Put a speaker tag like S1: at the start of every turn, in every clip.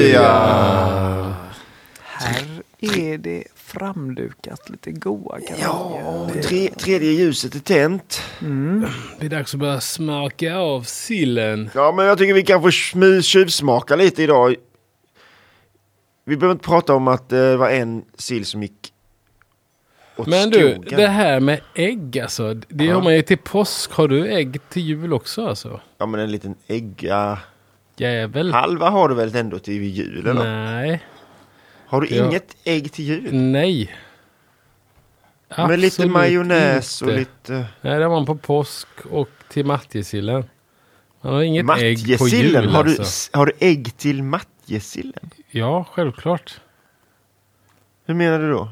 S1: Halleluja!
S2: Här är det framdukat lite goa
S1: Ja,
S2: kanarier.
S1: tre, tredje ljuset är tänt.
S3: Det är dags att börja smaka av sillen.
S1: Ja, men jag tycker vi kan få smy- tjuvsmaka lite idag. Vi behöver inte prata om att eh, det var en sill som gick åt
S3: Men du,
S1: skogen.
S3: det här med ägg alltså. Det
S1: Ja.
S3: har man ju till påsk. Har du ägg till jul också alltså?
S1: Ja, men en liten ägga...
S3: Jävel.
S1: Halva har du väl ändå till jul? Eller?
S3: Nej.
S1: Har du
S3: Ja.
S1: inget ägg till jul?
S3: Nej.
S1: Med lite
S3: Absolut
S1: majonnäs och
S3: inte.
S1: lite...
S3: Nej, det har man på påsk och till matjessillen. Man har inget ägg på
S1: Mattjesillen?
S3: jul
S1: Har, du-
S3: alltså.
S1: har du ägg till mattjesillen?
S3: Ja, självklart.
S1: Hur menar du då?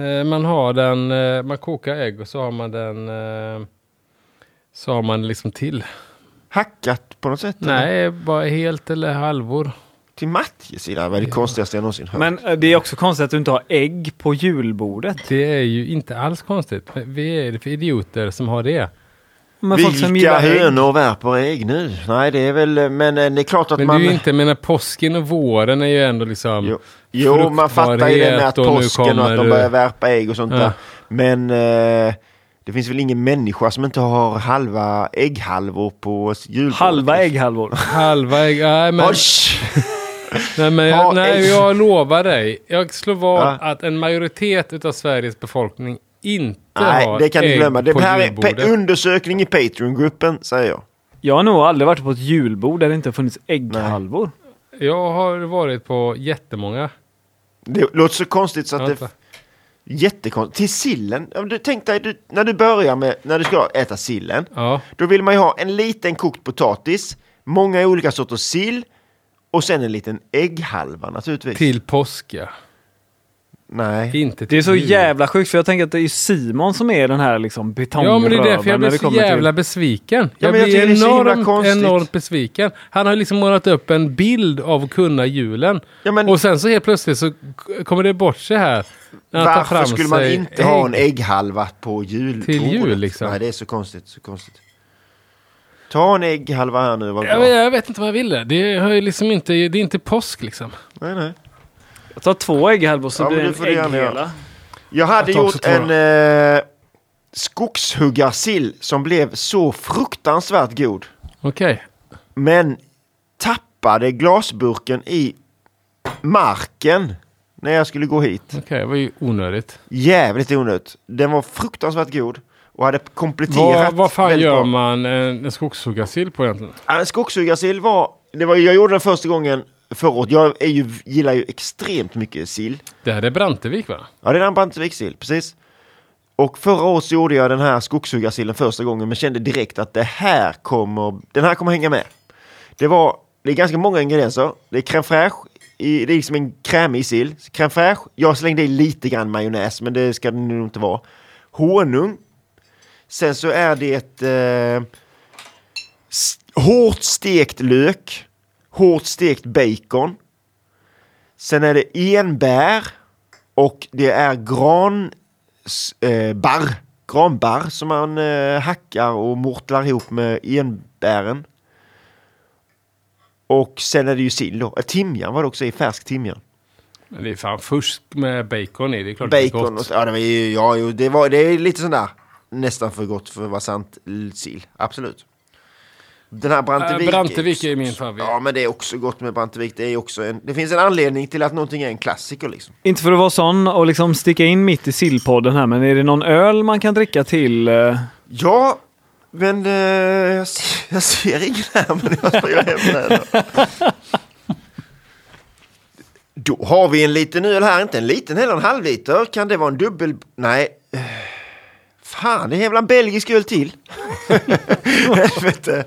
S3: Eh, man har den, eh, man kokar ägg och så har man den, eh, så har man liksom till.
S1: Hackat på något sätt? eller?
S3: Nej, bara helt eller halvor.
S1: Till mattjesillen? Det är det konstigaste jag någonsin hört.
S4: Men eh, det är också konstigt att du inte har ägg på julbordet.
S3: Det är ju inte alls konstigt. Vi är det för idioter som har det.
S4: Men folk som
S1: Vilka
S4: gillar ägg.
S1: hönor värper ägg nu? Nej, det är väl, men eh, det är klart att
S3: Men
S1: man...
S3: det är ju inte, jag menar påsken och våren är ju ändå liksom...
S1: Jo, jo man fattar ju det med att
S3: fruktbarhet och nu
S1: påsken och att
S3: kommer
S1: de
S3: du-
S1: börjar värpa ägg och sånt
S3: Ja.
S1: där. Men eh, det finns väl ingen människa som inte har halva ägghalvor på s- julbordet?
S4: Halva ägghalvor.
S3: Halva ägg, nej men...
S1: Osh!
S3: Nej, men
S1: Ha
S3: jag, nej,
S1: ägg.
S3: jag lovar dig. Jag slår vad
S1: Ja.
S3: att en majoritet av Sveriges befolkning inte
S1: Nej,
S3: har
S1: det kan du
S3: ägg
S1: glömma. Det
S3: på
S1: här är
S3: julbordet.
S1: pe- undersökning i Patreon-gruppen, säger jag.
S4: Jag har nog aldrig varit på ett julbord där det inte har funnits ägghalvor.
S3: Jag har varit på jättemånga.
S1: Det låter så konstigt så att det...
S3: Vänta.
S1: Jättekonstigt. Till sillen. Ja, men Du, tänk dig, du, när du börjar med, när du ska äta sillen.
S3: Ja.
S1: Då vill man ju ha en liten kokt potatis, många olika sorters sill och sen en liten ägghalva naturligtvis.
S3: Till påsk ja.
S1: Nej.
S3: Inte till
S4: Det är så
S3: jul.
S4: jävla sjukt för jag tänker att det är ju Simon som är den här liksom betongröven.
S3: Ja men det är därför jag
S4: när
S3: blir
S4: det
S3: så
S4: kommer till-
S3: jävla besviken. Jag,
S1: men jag
S3: blir
S1: tycker det är så himla
S3: enormt,
S1: konstigt.
S3: enormt besviken. Han har liksom målat upp en bild av att kunna julen.
S1: Ja, men-
S3: Och sen så helt plötsligt så k- kommer det bort sig här. När han tar
S1: Varför
S3: fram
S1: skulle man
S3: sig
S1: inte ha en ägghalva på julbordet?
S3: Till jul, liksom.
S1: Nej, det är så konstigt. Så konstigt. Ta en ägghalva här nu. Var
S3: Ja, men
S1: bra.
S3: jag vet inte vad jag ville. Det, har ju liksom inte, det är inte påsk liksom.
S1: Nej, nej.
S4: Ta två ägghalvor så
S1: Ja, men
S4: blir
S1: det
S4: det
S1: får
S4: en
S1: du gärna göra.
S4: ägghela.
S1: Jag hade
S3: Jag tar också
S1: gjort
S3: två
S1: en
S3: då.
S1: eh, skogshuggarsill som blev så fruktansvärt god.
S3: Okej.
S1: Men tappade glasburken i marken när jag skulle gå hit.
S3: Okej, det var ju onödigt.
S1: Jävligt onödigt. Den var fruktansvärt god och hade kompletterat.
S3: Vad, vad fan
S1: väldigt
S3: gör
S1: bra.
S3: man en, en skogshuggarsill på egentligen?
S1: Ja, en Skogshuggarsill var, det var, jag gjorde den första gången förra året. Jag är ju, gillar ju extremt mycket sill.
S3: Det här är Brantevik va?
S1: Ja, det är en Brantevikssill, precis. Och förra året så gjorde jag den här skogshuggarsillen första gången men kände direkt att det här kommer, den här kommer hänga med. Det var, det är ganska många ingredienser. Det är crème fraîche, i, det är liksom en krämig sill. Crème fraîche, jag slängde i lite grann majonnäs men det ska det nog inte vara. Honung. Sen så är det eh, s- hårt stekt lök, hårt stekt bacon. Sen är det enbär och det är gran, s- eh, barr, granbarr som man eh, hackar och mortlar ihop med enbären. Och sen är det ju sill då. Eh, Timjan var det också i, färsk timjan.
S3: Men det är fan fusk med bacon i. Det är klart det är
S1: Bacon och
S3: gott.
S1: så, ja, det var ju, ja, jo, det, var, det är lite sån där nästan för gott för att vara sant l- sill. Absolut. Den här Brantevik.
S3: Äh, Brantevik är min favorit.
S1: Ja, men det är också gott med Brantevik. Det, är också en, det finns en anledning till att någonting är en klassiker liksom.
S4: Inte för att vara sån och liksom sticka in mitt i sillpodden här men är det någon öl man kan dricka till? eh,
S1: Ja, men eh, jag, ser, jag ser ingen här, men jag får ju hem den. då. Då har vi en liten öl här, inte en liten heller, en halvliter. Kan det vara en dubbel... Nej. eh, Fan, det är en jävla belgisk öl till. Helvete.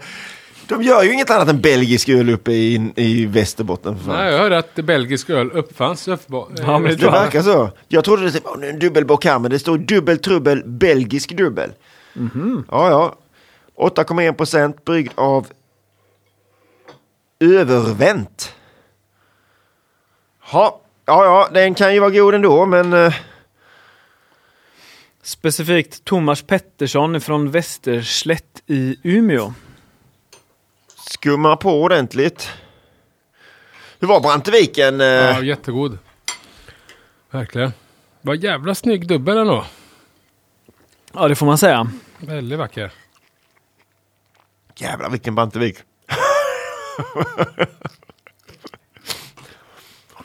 S1: De gör ju inget annat än belgisk öl uppe i, i Västerbotten. För fan.
S3: Nej, jag hörde att belgisk öl uppfanns. Uppba-
S4: Ja, men
S3: eh,
S4: det
S1: Det
S4: Va?
S1: verkar så. Jag trodde det var en dubbelbock här, men det står dubbel trubbel, belgisk dubbel.
S3: Mhm.
S1: Ja, ja. 8,1 procent bryggd av Övervänt. Ha. Ja, ja, den kan ju vara god ändå, men... eh,
S4: Specifikt Thomas Pettersson från Västerslätt i Umeå.
S1: skumma på ordentligt. Hur var Branteviken? eh?
S3: Ja, jättegod. Verkligen. Vad jävla snygg dubbel ändå.
S4: Ja, det får man säga.
S3: Väldigt vacker.
S1: Jävlar vilken Brantevik.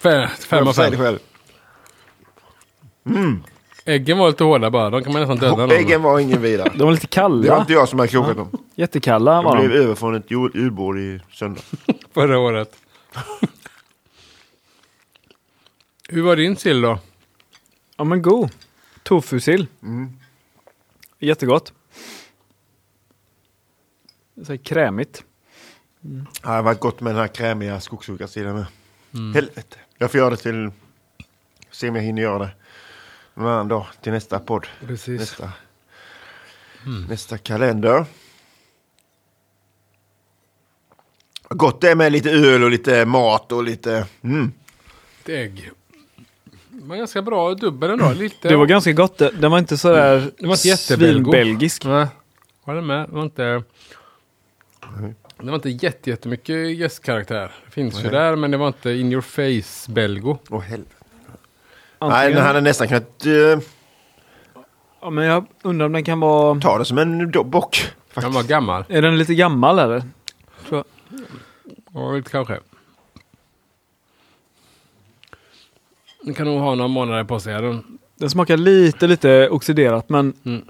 S3: Fem, fem av
S1: Jag säger det
S3: fem.
S1: själv.
S3: Äggen var lite hårda bara. De kan man nästan döda någon med.
S1: Äggen var ingen vidare.
S4: De var lite
S1: Det var
S4: kalla.
S1: inte jag som hade krokat dem.
S4: Jättekalla
S1: De
S4: var
S1: blev
S4: de.
S1: över från ett jul- julbord i söndag.
S3: förra året. Hur var din sill då?
S4: Ja, men god. Tofusill.
S1: Mm.
S4: Jättegott. Så här krämigt.
S1: Det hade varit gott med den här krämiga skogsugarsidan med. Helvete. Jag får göra det till... Se om jag hinner göra det. Någon annan dag till nästa podd.
S3: Precis.
S1: Nästa, nästa kalender. Vad Gott det är med lite öl och lite mat och lite... Mm.
S3: Ett ägg. Det var ganska bra dubbel ändå. Lite.
S4: Det var ganska gott. Det- Den var inte sådär
S1: Mm.
S3: Den var inte jättebelgo.
S4: svinbelgisk.
S3: Nej, håller med. Det var inte... Det var inte jätte, jättemycket gästkaraktär. Det finns ju där, men det var inte in your face belgo.
S1: Åh helvete. Nej,
S4: Antingen-
S1: den hade nästan kunnat eh,
S4: Ja, men jag undrar om den kan vara...
S1: ta det som en do- bock.
S3: Den
S1: Faktiskt.
S3: var gammal.
S4: Är den lite gammal eller?
S3: Ja, lite kanske. Den kan nog ha några månader på sig. här, Den.
S4: Den smakar lite, lite oxiderat men
S3: Mm.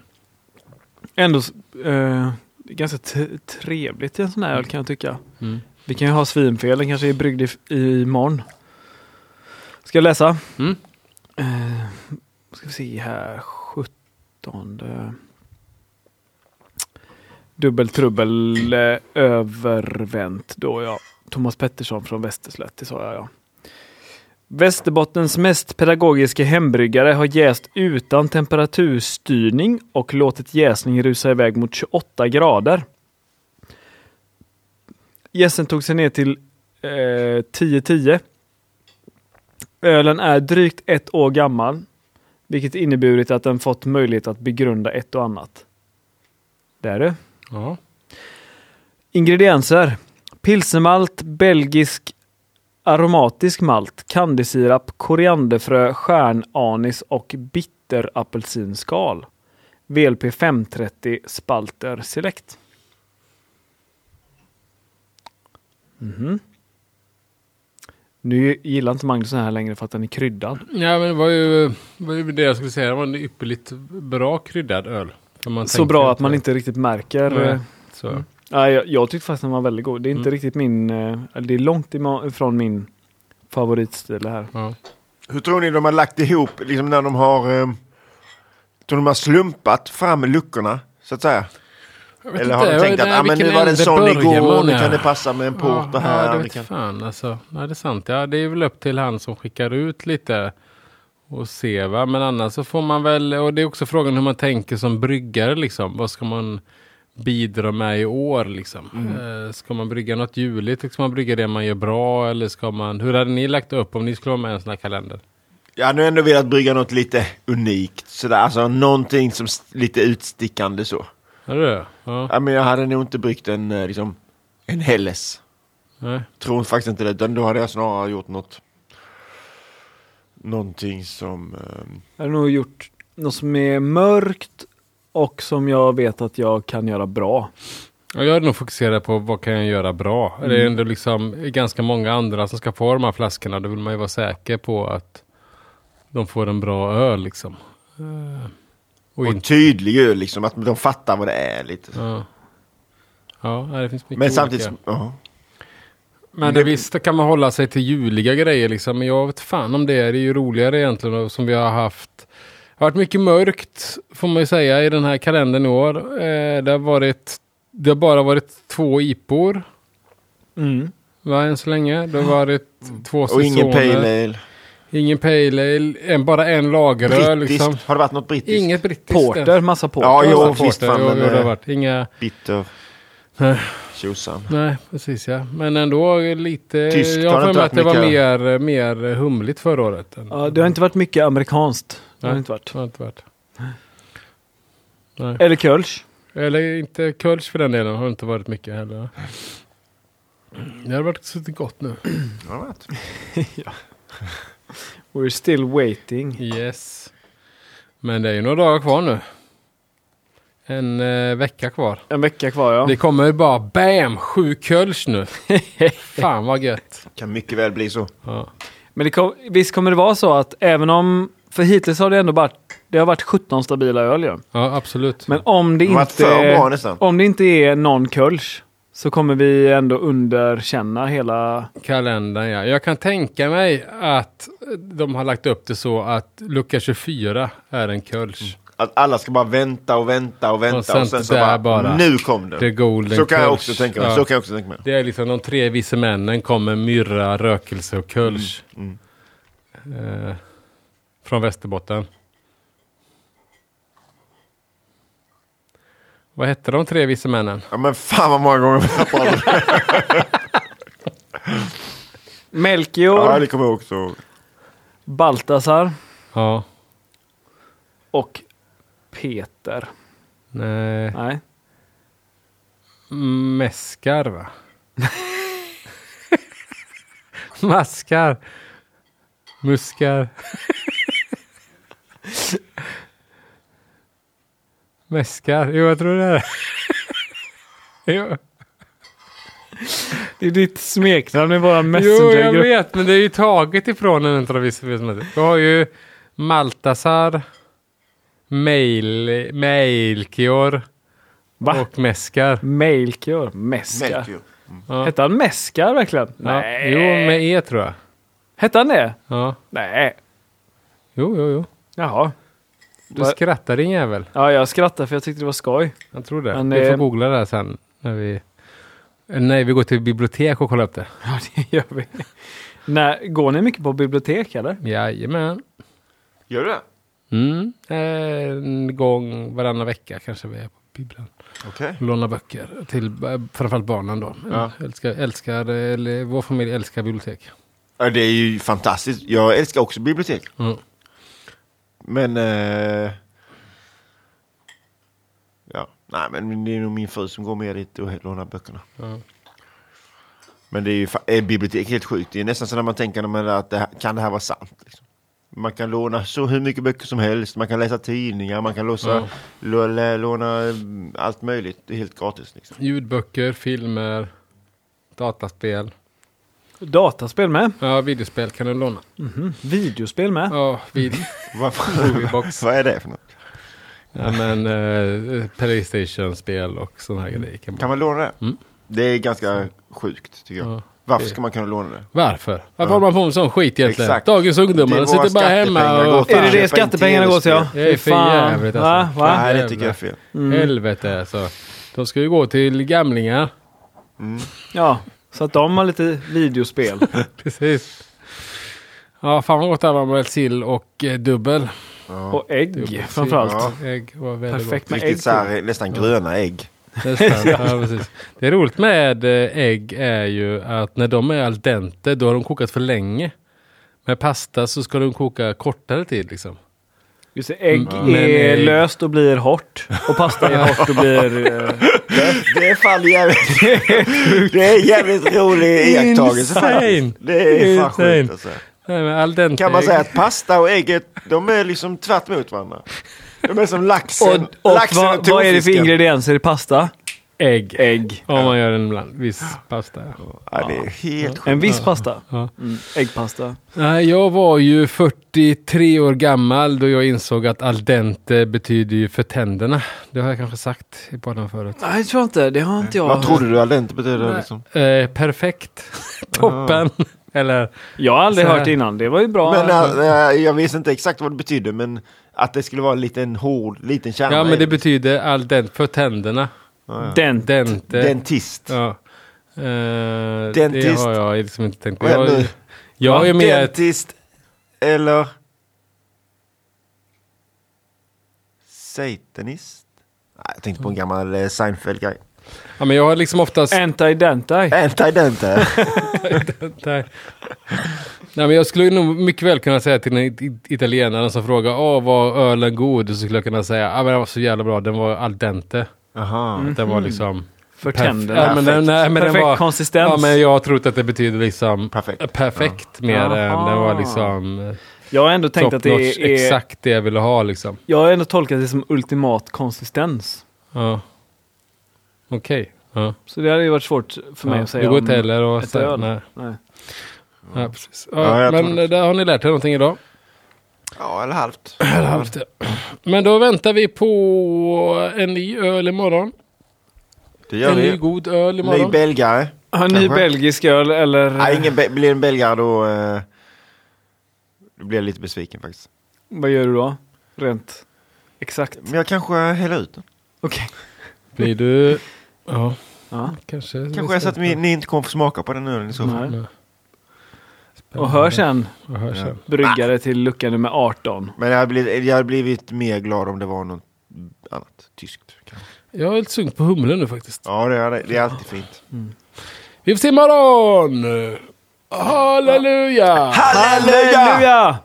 S4: ändå eh, ganska t- trevligt i en sån här öl kan jag tycka.
S3: Mm.
S4: Vi kan ju ha svinfel, den kanske är bryggd i, i morgon. Ska jag läsa?
S3: Mm.
S4: Eh, ska vi se här, 17. Dubbeltrubbel eh, övervänt då ja. Thomas Pettersson från Västerslätt, det sa jag ja. Västerbottens mest pedagogiska hembryggare har jäst utan temperaturstyrning och låtit jäsning rusa iväg mot 28 grader. Jäsen tog sig ner till eh, 10-10. Ölen är drygt ett år gammal, vilket inneburit att den fått möjlighet att begrunda ett och annat. Där du.
S3: Ja.
S4: Ingredienser. Pilsemalt, belgisk aromatisk malt, kandisirap, korianderfrö, stjärnanis och bitterapelsinskal. VLP 530 Spalter Select. Mhm. Nu gillar inte Magnus den här längre för att den är kryddad.
S3: Ja, men det var ju, var ju det jag skulle säga. Det var en ypperligt bra kryddad öl. För man
S4: Så
S3: tänker
S4: bra att man inte riktigt märker.
S3: Nej.
S4: eh,
S3: Så.
S4: Nej, jag, jag tyckte faktiskt den var väldigt god. Det är inte
S3: Mm.
S4: riktigt min, eh, det är långt ifrån min favoritstil det här.
S3: Ja.
S1: Hur tror ni de har lagt ihop, liksom när de har... Eh, tror ni de har slumpat fram luckorna, så att säga?
S3: Jag vet
S1: Eller har de tänkt att ah, men nu var det en sån igår, nu kan det passa med en port
S3: ja,
S1: och här.
S3: Ja, det
S1: det
S3: vet
S1: kan...
S3: fan alltså. Nej, det är sant. Ja, det är väl upp till han som skickar ut lite och se va. Men annars så får man väl, och det är också frågan hur man tänker som bryggare liksom. Vad ska man bidra med i år liksom? Eh, Ska man brygga något juligt? Ska man brygga det man gör bra? Eller ska man, hur hade ni lagt upp om ni skulle vara med i en sån här kalender?
S1: Jag hade ändå velat brygga något lite unikt, sådär. Alltså någonting som s- lite utstickande så.
S3: Är det det? Ja.
S1: Ja, men jag hade nog inte bryggt en, eh, liksom, en Helles.
S3: Nej.
S1: Tror faktiskt inte det, utan då hade jag snarare gjort något... Någonting som... Eh,
S4: Jag har nog gjort något som är mörkt och som jag vet att jag kan göra bra.
S3: Ja, Jag är nog fokuserad på vad kan jag göra bra. Det är ändå liksom ganska många andra som ska få de här flaskorna. Då vill man ju vara säker på att de får en bra öl liksom. Eh, Och
S1: och
S3: inte.
S1: tydliggör liksom, att de fattar vad det är lite.
S3: Ja. ja, nej, det finns mycket
S1: Men samtidigt...
S3: olika.
S1: Ja.
S3: Men det, visst, det kan man hålla sig till juliga grejer liksom. Men jag vet fan om det är. Det är ju roligare egentligen och som vi har haft. Det har varit mycket mörkt får man ju säga i den här kalendern i år. Eh, Det har, varit, det har bara varit två IPor. Mm. Va, än så länge. Det har varit två
S1: Mm. Och
S3: säsonger.
S1: ingen pale ale.
S3: Ingen pale ale. En, bara en lageröl.
S1: Brittiskt.
S3: Liksom.
S1: Har det varit något brittiskt?
S3: Inget brittiskt.
S4: Porter, massa porter.
S1: Ja, jo,
S3: Ja,
S1: visst,
S3: porter.
S1: fan,
S3: Jo,
S1: men,
S3: jo, det har
S1: eh,
S3: varit. Inga...
S1: Bitter.
S3: Nej.
S1: Tjosan.
S3: Nej, precis ja. Men ändå lite...
S1: Tyskt
S3: jag
S1: har
S3: har
S1: det
S3: för
S1: inte
S3: mig att det
S1: varit
S3: var
S1: mycket.
S3: mer, mer humligt förra året. Än,
S4: Ja, det har inte varit mycket amerikanskt. Det
S3: Nej.
S4: har det inte varit.
S3: har inte varit. Nej.
S4: Eller kölsch.
S3: Eller inte Kölsch för den delen har det inte varit mycket heller.
S1: Mm.
S3: Det hade varit suttit gott nu.
S1: Ja, det har varit.
S4: We're still waiting.
S3: Yes. Men det är ju några dagar kvar nu. En eh, vecka kvar.
S4: En vecka kvar ja.
S3: Det kommer ju bara BAM! Sju kölsch nu. Fan vad gött.
S1: Kan mycket väl bli så.
S3: Ja.
S4: Men det kom, visst kommer det vara så att även om... För hittills har det ändå varit, det har varit 17 stabila öl ju.
S3: ja, absolut.
S4: Men om det,
S1: Det har varit för bra
S4: inte,
S1: nästan.
S4: om det inte är någon kölsch så kommer vi ändå underkänna hela...
S3: Kalendern ja. Jag kan tänka mig att de har lagt upp det så att lucka 24 är en kölsch.
S4: Mm.
S1: Att alla ska bara vänta och vänta och vänta och
S3: sen
S1: sen, så
S3: där
S1: bara,
S3: bara.
S1: nu kom den.
S3: Det är golden
S1: Så kan jag
S3: kölsch.
S1: också tänka mig.
S3: Ja.
S1: Så kan jag också tänka mig.
S3: Det är liksom de tre vise männen kommer myrra, rökelse och kölsch.
S4: Mm,
S3: Eh, från Västerbotten. Vad hette de tre vise männen?
S1: Ja, men fan vad många gånger jag pratat om det.
S4: Melchior,
S1: Ja, det kommer jag också ihåg.
S4: Baltasar
S3: Ja,
S4: och Peter.
S3: nej.
S4: Nej.
S3: Mäskar va? Maskar. Muskar. Mäskar. Jo, jag tror det är det. jo.
S4: Det är ditt smeknamn i våra
S3: jo, jag
S4: messengergrupp.
S3: vet, men det är ju taget ifrån en av vissa filmer. Du har ju Maltasar, Mail, Mailkior
S4: Va?
S3: och Mäskar.
S4: Melchior? Meskar?
S1: Melchior.
S3: Ja.
S4: Hette han Meskar verkligen?
S3: Ja. Jo, med E tror jag.
S4: Hette han det?
S3: Ja.
S4: Nej.
S3: Jo, jo, jo.
S4: Jaha.
S3: Du
S4: Va-
S3: skrattar din jävel.
S4: Ja, jag skrattar för jag tyckte det var skoj.
S3: Jag tror det.
S4: Men,
S3: vi
S4: eh,
S3: får googla det här sen. När vi, Eh, nej, vi går till bibliotek och kollar upp det.
S4: Ja, det gör vi. Nej, går ni mycket på bibliotek eller?
S3: Jajamän.
S1: Gör du det?
S3: Mm. En gång varannan vecka kanske vi är på bibblan.
S1: Okej.
S3: Låna böcker till eh, framförallt barnen då.
S1: Ja.
S3: Älskar, älskar, eller, vår familj älskar bibliotek.
S1: Ja, det är ju fantastiskt. Jag älskar också bibliotek.
S3: Mm.
S1: Men... Eh... Ja, nej men det är nog min fru som går med dit och lånar böckerna.
S3: Ja.
S1: Men det är ju fa- eh, bibliotek är helt sjukt. Det är nästan så när man tänker när man är att det här, kan det här vara sant? Liksom. Man kan låna så hur mycket böcker som helst. Man kan läsa tidningar, man kan låsa,
S3: Ja.
S1: lå- lä- låna mm, allt möjligt. Det är helt gratis. Liksom.
S3: Ljudböcker, filmer, dataspel.
S4: Dataspel med.
S3: Ja, videospel kan du låna.
S4: Videospel med.
S3: Ja, vid
S1: Vad,
S3: Moviebox.
S1: vad är det för något?
S3: ja, men, eh, Playstation-spel och sådana här grejer. Kan man.
S1: Kan man låna det?
S3: Mm.
S1: Det är ganska sjukt tycker jag.
S3: Ja.
S1: Varför
S3: det-
S1: ska man kunna låna det?
S3: Varför? Varför håller man på med sån skit egentligen?
S1: Exakt.
S3: Dagens
S1: Det är
S3: ungdomar
S1: våra
S3: sitter bara hemma
S1: skattepengar
S3: och...
S1: går till-
S4: Är det
S1: Köpa
S4: det
S1: in
S4: skattepengarna går till? Ja.
S3: Det är för
S4: Fan.
S3: jävligt
S4: Va?
S3: alltså.
S4: Va? Mm.
S1: Nej, det
S3: Jävlar.
S1: tycker jag är fel.
S3: Helvete alltså. De ska ju gå till gamlingar.
S4: Ja. Så att de har lite videospel.
S3: Precis. Ja, fan vad gott det här var med sill och eh, dubbel.
S4: Och ägg framförallt.
S1: Ja.
S3: Ägg var väldigt
S4: Perfekt med ägg.
S1: Riktigt så här, nästan gröna ägg.
S3: gott. Nästan. ja, precis. Det roliga med eh, ägg är ju att när de är al dente då har de kokat för länge. Med pasta så ska de koka kortare tid liksom.
S4: Just det, ägg
S3: Mm. Men
S4: är
S3: ägg-
S4: löst och blir hårt. Och pasta är hårt och blir... eh,
S1: Det är fan jävligt... det är jävligt rolig iakttagelse
S3: Insane.
S1: faktiskt. Det är fan sjukt
S3: Insane.
S1: alltså.
S3: Nej, men al dente
S1: Kan man
S3: ägg-
S1: säga att pasta och ägget, de är liksom tvärt mot varandra? De är som laxen,
S4: Och, och
S1: laxen
S4: vad, vad är det för
S1: tonfisken.
S4: ingredienser i pasta?
S3: Ägg.
S4: Ägg.
S3: Om man gör en bland, viss pasta.
S1: Ja, det är helt sjukt.
S4: En viss pasta.
S3: Ja.
S4: Mm, äggpasta.
S3: Nej, jag var ju 43 år gammal då jag insåg att al dente betyder ju för tänderna. Det har jag kanske sagt i podden förut.
S4: Nej, det tror jag inte. Det har inte jag.
S1: Vad trodde du att det inte betydde liksom?
S3: Eh, perfekt. Toppen. Eller,
S4: Jag har aldrig
S3: Så här.
S4: hört innan. Det var ju bra.
S1: Men äh, äh, jag visste inte exakt vad det betydde, men att det skulle vara en liten hård, liten kärna.
S3: ja,
S1: i
S3: men det betyder al dente för tänderna.
S1: Ja, ja.
S4: Den.
S3: Dente.
S1: Dentist.
S3: Ja. Eh, det
S1: Dentist.
S3: har jag liksom inte tänkt på.
S1: Vad är
S3: Jag,
S1: det?
S3: jag är mer ett
S1: Dentist eller... Satanist? Nej, jag tänkte på en gammal eh, Seinfeld-grej. Äh,
S3: ja, men jag har liksom oftast...
S4: Anti-dentai.
S1: Anti-dente.
S3: Nej. Nej, men jag skulle nog mycket väl kunna säga till den it- italienaren som frågar Åh, var ölen god? Så skulle jag kunna säga ah, men den var så jävla bra, den var al dente.
S1: Jaha.
S4: Mm.
S3: Den var liksom
S4: för
S3: Perf-
S4: tänderna.
S3: Ja, men den- nej, men den
S4: Perfekt
S3: var-
S4: konsistens.
S3: Ja, men jag har trott att det betyder liksom
S1: Perfekt.
S3: perfekt mer än
S4: Jaha.
S3: det var liksom eh,
S4: Jag har ändå tänkt
S3: top
S4: att
S3: notch,
S4: det är...
S3: exakt det jag ville ha liksom.
S4: Jag har ändå tolkat det som ultimat konsistens.
S3: Ja. Okej. Ja.
S4: Så det hade ju varit svårt för mig
S3: Ja.
S4: att säga
S3: det går
S4: om-
S3: inte heller att
S4: ett
S3: säga.
S4: öl.
S3: Nej.
S4: Nej.
S3: Nej, precis.
S1: Ja,
S3: Ja,
S1: jag tror
S3: men
S1: det.
S3: där har ni lärt er någonting idag.
S2: Ja, eller halvt.
S3: Men då väntar vi på en ny öl imorgon.
S1: Det gör
S3: en ny
S1: vi.
S3: god Eh. öl
S1: Ny
S3: imorgon.
S1: belgare.
S4: Ja, ny
S1: Kanske.
S4: belgisk öl eller...
S1: Nej, ingen be- blir det en belgare då... Eh, då blir jag lite besviken faktiskt.
S4: Vad gör du då? Rent exakt.
S1: Men jag kanske häller ut den.
S4: Okej.
S3: Blir du... Ja,
S4: Ja.
S3: kanske.
S1: Kanske så att ni, ni inte kommer få smaka på den ölen i så fall.
S4: Nej.
S3: Mm. Nej.
S4: Och hör sen
S3: Och hör sen.
S4: bryggare till lucka nummer 18.
S1: Men jag hade, blivit, jag hade blivit mer glad om det var något annat. Tyskt.
S3: Mm.
S1: kanske.
S3: Jag är lite sugen på humlen nu faktiskt.
S1: Ja, det är, det är alltid fint.
S3: Vi får se imorgon! Halleluja!
S1: Halleluja!
S4: Halleluja!